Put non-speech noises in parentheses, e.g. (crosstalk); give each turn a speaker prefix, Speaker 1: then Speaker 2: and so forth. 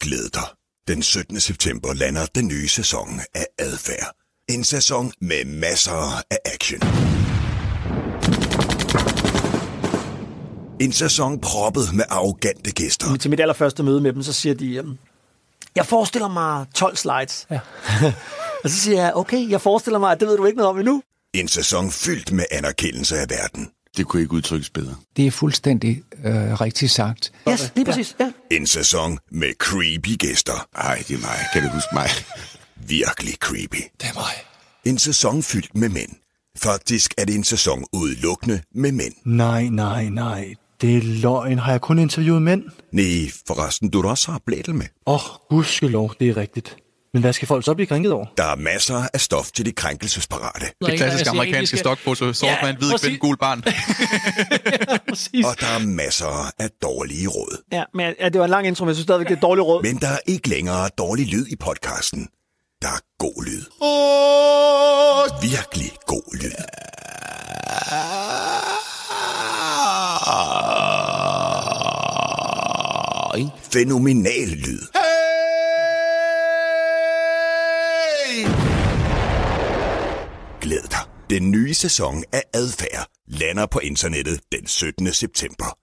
Speaker 1: Glæd dig. Den 17. september lander den nye sæson af Adfærd. En sæson med masser af action. En sæson proppet med arrogante gæster.
Speaker 2: Til mit allerførste møde med dem, så siger de, øhm, jeg forestiller mig 12 slides. Ja. (laughs) og så siger jeg, okay, jeg forestiller mig, at det ved du ikke noget om endnu.
Speaker 1: En sæson fyldt med anerkendelse af verden.
Speaker 3: Det kunne ikke udtrykkes bedre.
Speaker 4: Det er fuldstændig øh, rigtigt sagt.
Speaker 2: Yes, lige præcis. Ja.
Speaker 1: En sæson med creepy gæster.
Speaker 3: Ej, det er mig. Kan du huske mig?
Speaker 1: Virkelig creepy.
Speaker 3: Det er mig.
Speaker 1: En sæson fyldt med mænd. Faktisk er det en sæson udelukkende med mænd.
Speaker 5: Nej, nej, nej. Det er løgn. Har jeg kun interviewet mænd?
Speaker 1: Nej, forresten, du er da også har blædel med.
Speaker 5: Åh, oh, gudskelov, det er rigtigt. Men hvad skal folk så blive krænket over?
Speaker 1: Der er masser af stof til de krænkelsesparate.
Speaker 6: Det klassiske amerikanske stokpose, sort ja, man, hvid
Speaker 2: præcis.
Speaker 6: kvind, gul barn.
Speaker 2: ja, præcis.
Speaker 1: Og der er masser af dårlige råd.
Speaker 2: Ja, men ja, det var en lang intro, men jeg synes stadigvæk, det er et dårligt råd.
Speaker 1: Men der er ikke længere dårlig lyd i podcasten. Der er god lyd. Virkelig god lyd. Fænomenal lyd. Glæd dig. Den nye sæson af Adfærd lander på internettet den 17. september.